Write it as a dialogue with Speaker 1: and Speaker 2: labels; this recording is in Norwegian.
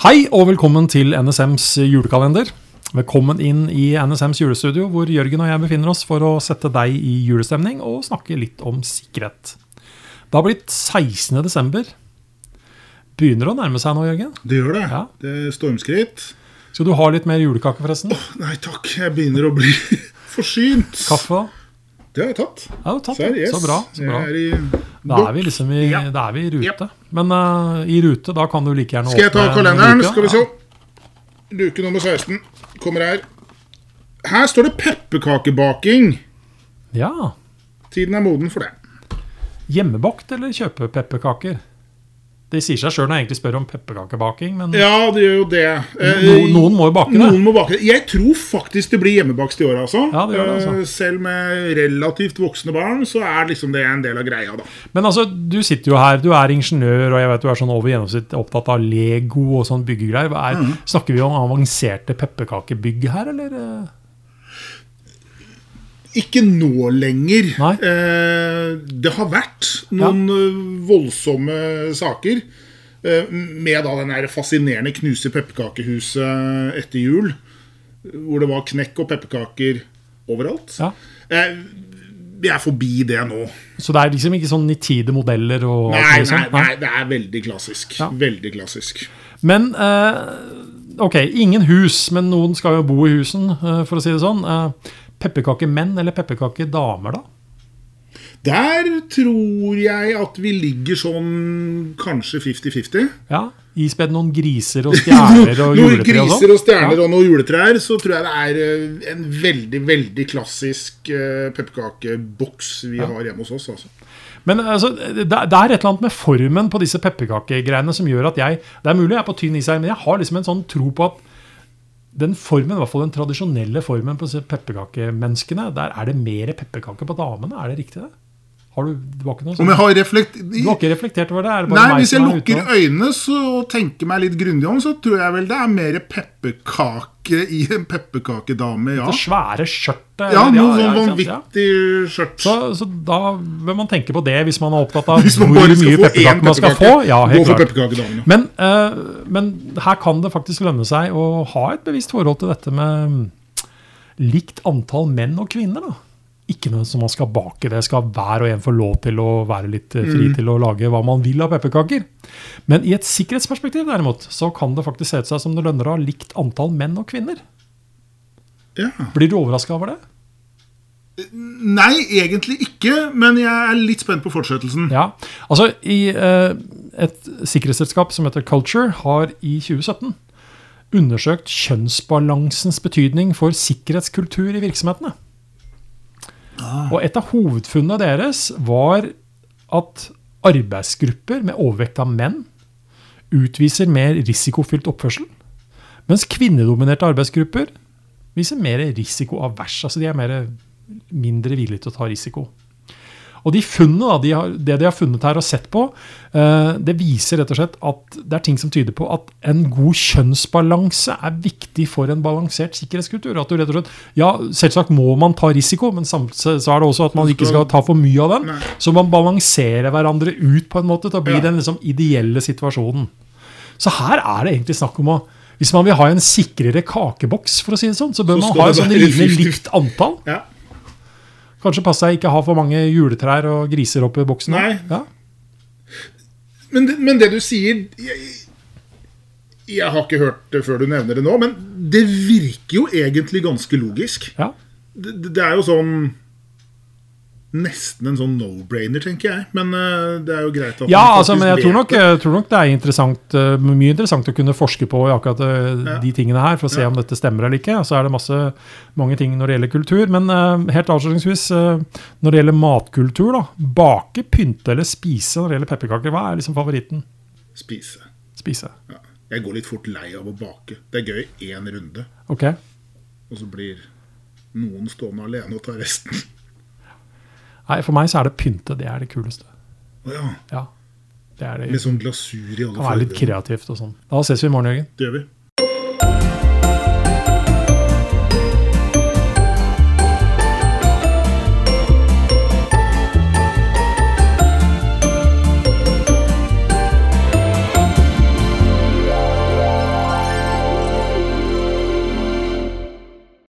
Speaker 1: Hei og velkommen til NSMs julekalender. Velkommen inn i NSMs julestudio, hvor Jørgen og jeg befinner oss for å sette deg i julestemning og snakke litt om sikkerhet. Det har blitt 16. desember. Begynner å nærme seg nå, Jørgen.
Speaker 2: Det gjør det.
Speaker 1: Ja.
Speaker 2: Det er stormskritt.
Speaker 1: Skal du ha litt mer julekake, forresten?
Speaker 2: Nei takk, jeg begynner å bli forsynt.
Speaker 1: Kaffe, da?
Speaker 2: Det har jeg tatt.
Speaker 1: Ja, du tatt
Speaker 2: Så her,
Speaker 1: det.
Speaker 2: yes.
Speaker 1: Så bra. Så bra.
Speaker 2: Jeg er i...
Speaker 1: Da er vi liksom i,
Speaker 2: Eh, Ja.
Speaker 1: da er vi i
Speaker 2: Ja.
Speaker 1: rute. Men eh, i rute, da kan du like gjerne
Speaker 2: Skal jeg ta
Speaker 1: åpne en
Speaker 2: kalenderen?
Speaker 1: luke?
Speaker 2: Skal vi
Speaker 1: Ja.
Speaker 2: se. Luke nummer 16 kommer her. Her står det pepperkakebaking.
Speaker 1: Ja.
Speaker 2: Tiden er moden for det.
Speaker 1: Hjemmebakt eller kjøpe pepperkaker? Det sier seg sjøl når jeg egentlig spør om pepperkakebaking, men
Speaker 2: Ja, det gjør jo det. Eh,
Speaker 1: no, noen må jo bake det.
Speaker 2: Noen må bake det. Jeg tror faktisk det blir hjemmebakst i år, altså.
Speaker 1: Ja, det gjør det, altså.
Speaker 2: Eh, Selv med relativt voksne barn, så er liksom det en del av greia, da.
Speaker 1: Men altså, du sitter jo her, du er ingeniør, og jeg vet du er sånn over gjennomsnitt opptatt av Lego og sånn byggegreier. Hva
Speaker 2: Mm.
Speaker 1: Er, Snakker vi om avanserte pepperkakebygg her, eller? eh,
Speaker 2: Ikke nå lenger.
Speaker 1: Nei.
Speaker 2: Eh, det har vært noen eh, voldsomme saker. eh, Med da den her fascinerende knuse pepperkakehuset eh, etter jul. Hvor det var knekk og pepperkaker overalt.
Speaker 1: Ja.
Speaker 2: Eh, vi er forbi det nå.
Speaker 1: Så det er liksom ikke sånn nitide modeller og
Speaker 2: Nei,
Speaker 1: mulig
Speaker 2: nei,
Speaker 1: sånt?
Speaker 2: nei, det er veldig klassisk.
Speaker 1: sånn. Ja.
Speaker 2: Veldig klassisk.
Speaker 1: Men eh, ok, ingen hus, men noen skal jo bo i husen, eh, for å si det sånn. Eh, pepperkakemenn eller pepperkakedamer, da?
Speaker 2: Der tror jeg at vi ligger sånn kanskje 50-50.
Speaker 1: Ja, Ispedd noen griser og stjerner og
Speaker 2: Noen
Speaker 1: juletre og
Speaker 2: griser
Speaker 1: sånn?
Speaker 2: og stjerner og noen juletrær, så tror jeg det er eh, en veldig, veldig klassisk eh, pepperkakeboks vi har hjemme hos oss. Altså.
Speaker 1: Men altså, det, det er et eller annet med formen på disse pepperkakegreiene som gjør at jeg Det er mulig jeg er på tynn is her, men jeg har liksom en sånn tro på at den formen, i hvert fall den tradisjonelle formen på disse pepperkakemenneskene, der er det mer pepperkake på damene. Er det riktig, det? Har du, det var ikke noe
Speaker 2: Om
Speaker 1: sånn?
Speaker 2: jeg har reflekt...
Speaker 1: Du har ikke reflektert over det? Er det
Speaker 2: Nei,
Speaker 1: bare meg
Speaker 2: hvis jeg
Speaker 1: som er
Speaker 2: lukker
Speaker 1: utenom?
Speaker 2: øynene så, og tenker meg litt grundig om, så tror jeg vel det er mer pepperkake i en pepperkakedame, ja.
Speaker 1: Det svære skjørtet.
Speaker 2: Ja,
Speaker 1: eller-
Speaker 2: noe sånn
Speaker 1: ikke sant, ja.
Speaker 2: vanvittig skjørt.
Speaker 1: Så, så da bør man tenke på det hvis man er opptatt av
Speaker 2: Hvis man
Speaker 1: hvor
Speaker 2: bare skal
Speaker 1: mye
Speaker 2: få
Speaker 1: pepperkaker
Speaker 2: én
Speaker 1: man skal få.
Speaker 2: pepperkake,
Speaker 1: Ja,
Speaker 2: gå
Speaker 1: helt
Speaker 2: for
Speaker 1: klart.
Speaker 2: pepperkakedamene.
Speaker 1: Men, eh, men her kan det faktisk lønne seg å ha et bevisst forhold til dette med mm, likt antall menn og kvinner. da. Ikke noe som man skal bake det. Skal hver og en få lov til å være litt eh, fri til å lage hva man vil av pepperkaker. Men i et sikkerhetsperspektiv derimot, så kan det faktisk se ut seg som det lønner å ha likt antall menn og kvinner.
Speaker 2: Ja.
Speaker 1: Blir du overraska over det?
Speaker 2: Nei, egentlig ikke, men jeg er litt spent på fortsettelsen.
Speaker 1: Ja, altså i eh, Et sikkerhetsselskap som heter Culture, har i 2017 undersøkt kjønnsbalansens betydning for sikkerhetskultur i virksomhetene. Og et av hovedfunnene deres var at arbeidsgrupper med overvekt av menn utviser mer risikofylt oppførsel, mens kvinnedominerte arbeidsgrupper viser mer risikoavers. Altså de er mer, mindre villige til å ta risiko. Og de funnene, da, de har, det de har funnet her og sett på, eh, det viser rett og slett at det er ting som tyder på at en god kjønnsbalanse er viktig for en balansert sikkerhetskultur. At du rett og slett, ja, Selvsagt må man ta risiko, men sam- så så er det også at man ikke skal ta for mye av den.
Speaker 2: Nei.
Speaker 1: Så man balanserer hverandre ut på en måte til å bli
Speaker 2: Ja.
Speaker 1: den liksom ideelle situasjonen. Så her er det egentlig snakk om å Hvis man vil ha en sikrere kakeboks, for å si det sånn, så bør
Speaker 2: Så
Speaker 1: man
Speaker 2: skal
Speaker 1: ha et
Speaker 2: det
Speaker 1: sånn
Speaker 2: være
Speaker 1: rimelig
Speaker 2: 50.
Speaker 1: likt antall.
Speaker 2: Ja.
Speaker 1: Kanskje passe seg ikke ha for mange juletrær og griser oppi boksen.
Speaker 2: Nei.
Speaker 1: Ja.
Speaker 2: Men, det- men det du sier jeg, jeg har ikke hørt det før du nevner det nå, men det virker jo egentlig ganske logisk.
Speaker 1: Ja.
Speaker 2: Det, det- det er jo sånn Nesten en sånn no-brainer, tenker jeg. Men eh, det er jo greit at
Speaker 1: ja,
Speaker 2: man
Speaker 1: altså,
Speaker 2: faktisk
Speaker 1: men jeg
Speaker 2: vet
Speaker 1: tror nok,
Speaker 2: det.
Speaker 1: jeg tror nok det er interessant, eh, mye interessant å kunne forske på i akkurat eh, de tingene her, for å se om dette stemmer eller ikke. Så er det masse, mange ting når det gjelder kultur. Men eh, helt avslutningsvis, eh, når det gjelder matkultur, da. Bake, pynte eller spise når det gjelder pepperkaker, hva er liksom favoritten?
Speaker 2: Spise.
Speaker 1: Spise.
Speaker 2: Ja. Jeg går litt fort lei av å bake. Det er gøy én runde,
Speaker 1: Ok.
Speaker 2: og så blir noen stående alene og ta resten.
Speaker 1: Nei, for meg så er det pynte. Det er det kuleste.
Speaker 2: Å ja,
Speaker 1: Ja. Det er
Speaker 2: Med
Speaker 1: det.
Speaker 2: sånn glasur i alle
Speaker 1: Kan være litt
Speaker 2: farger.
Speaker 1: kreativt og sånn. Da ses vi i morgen, Jørgen.
Speaker 2: Det gjør vi.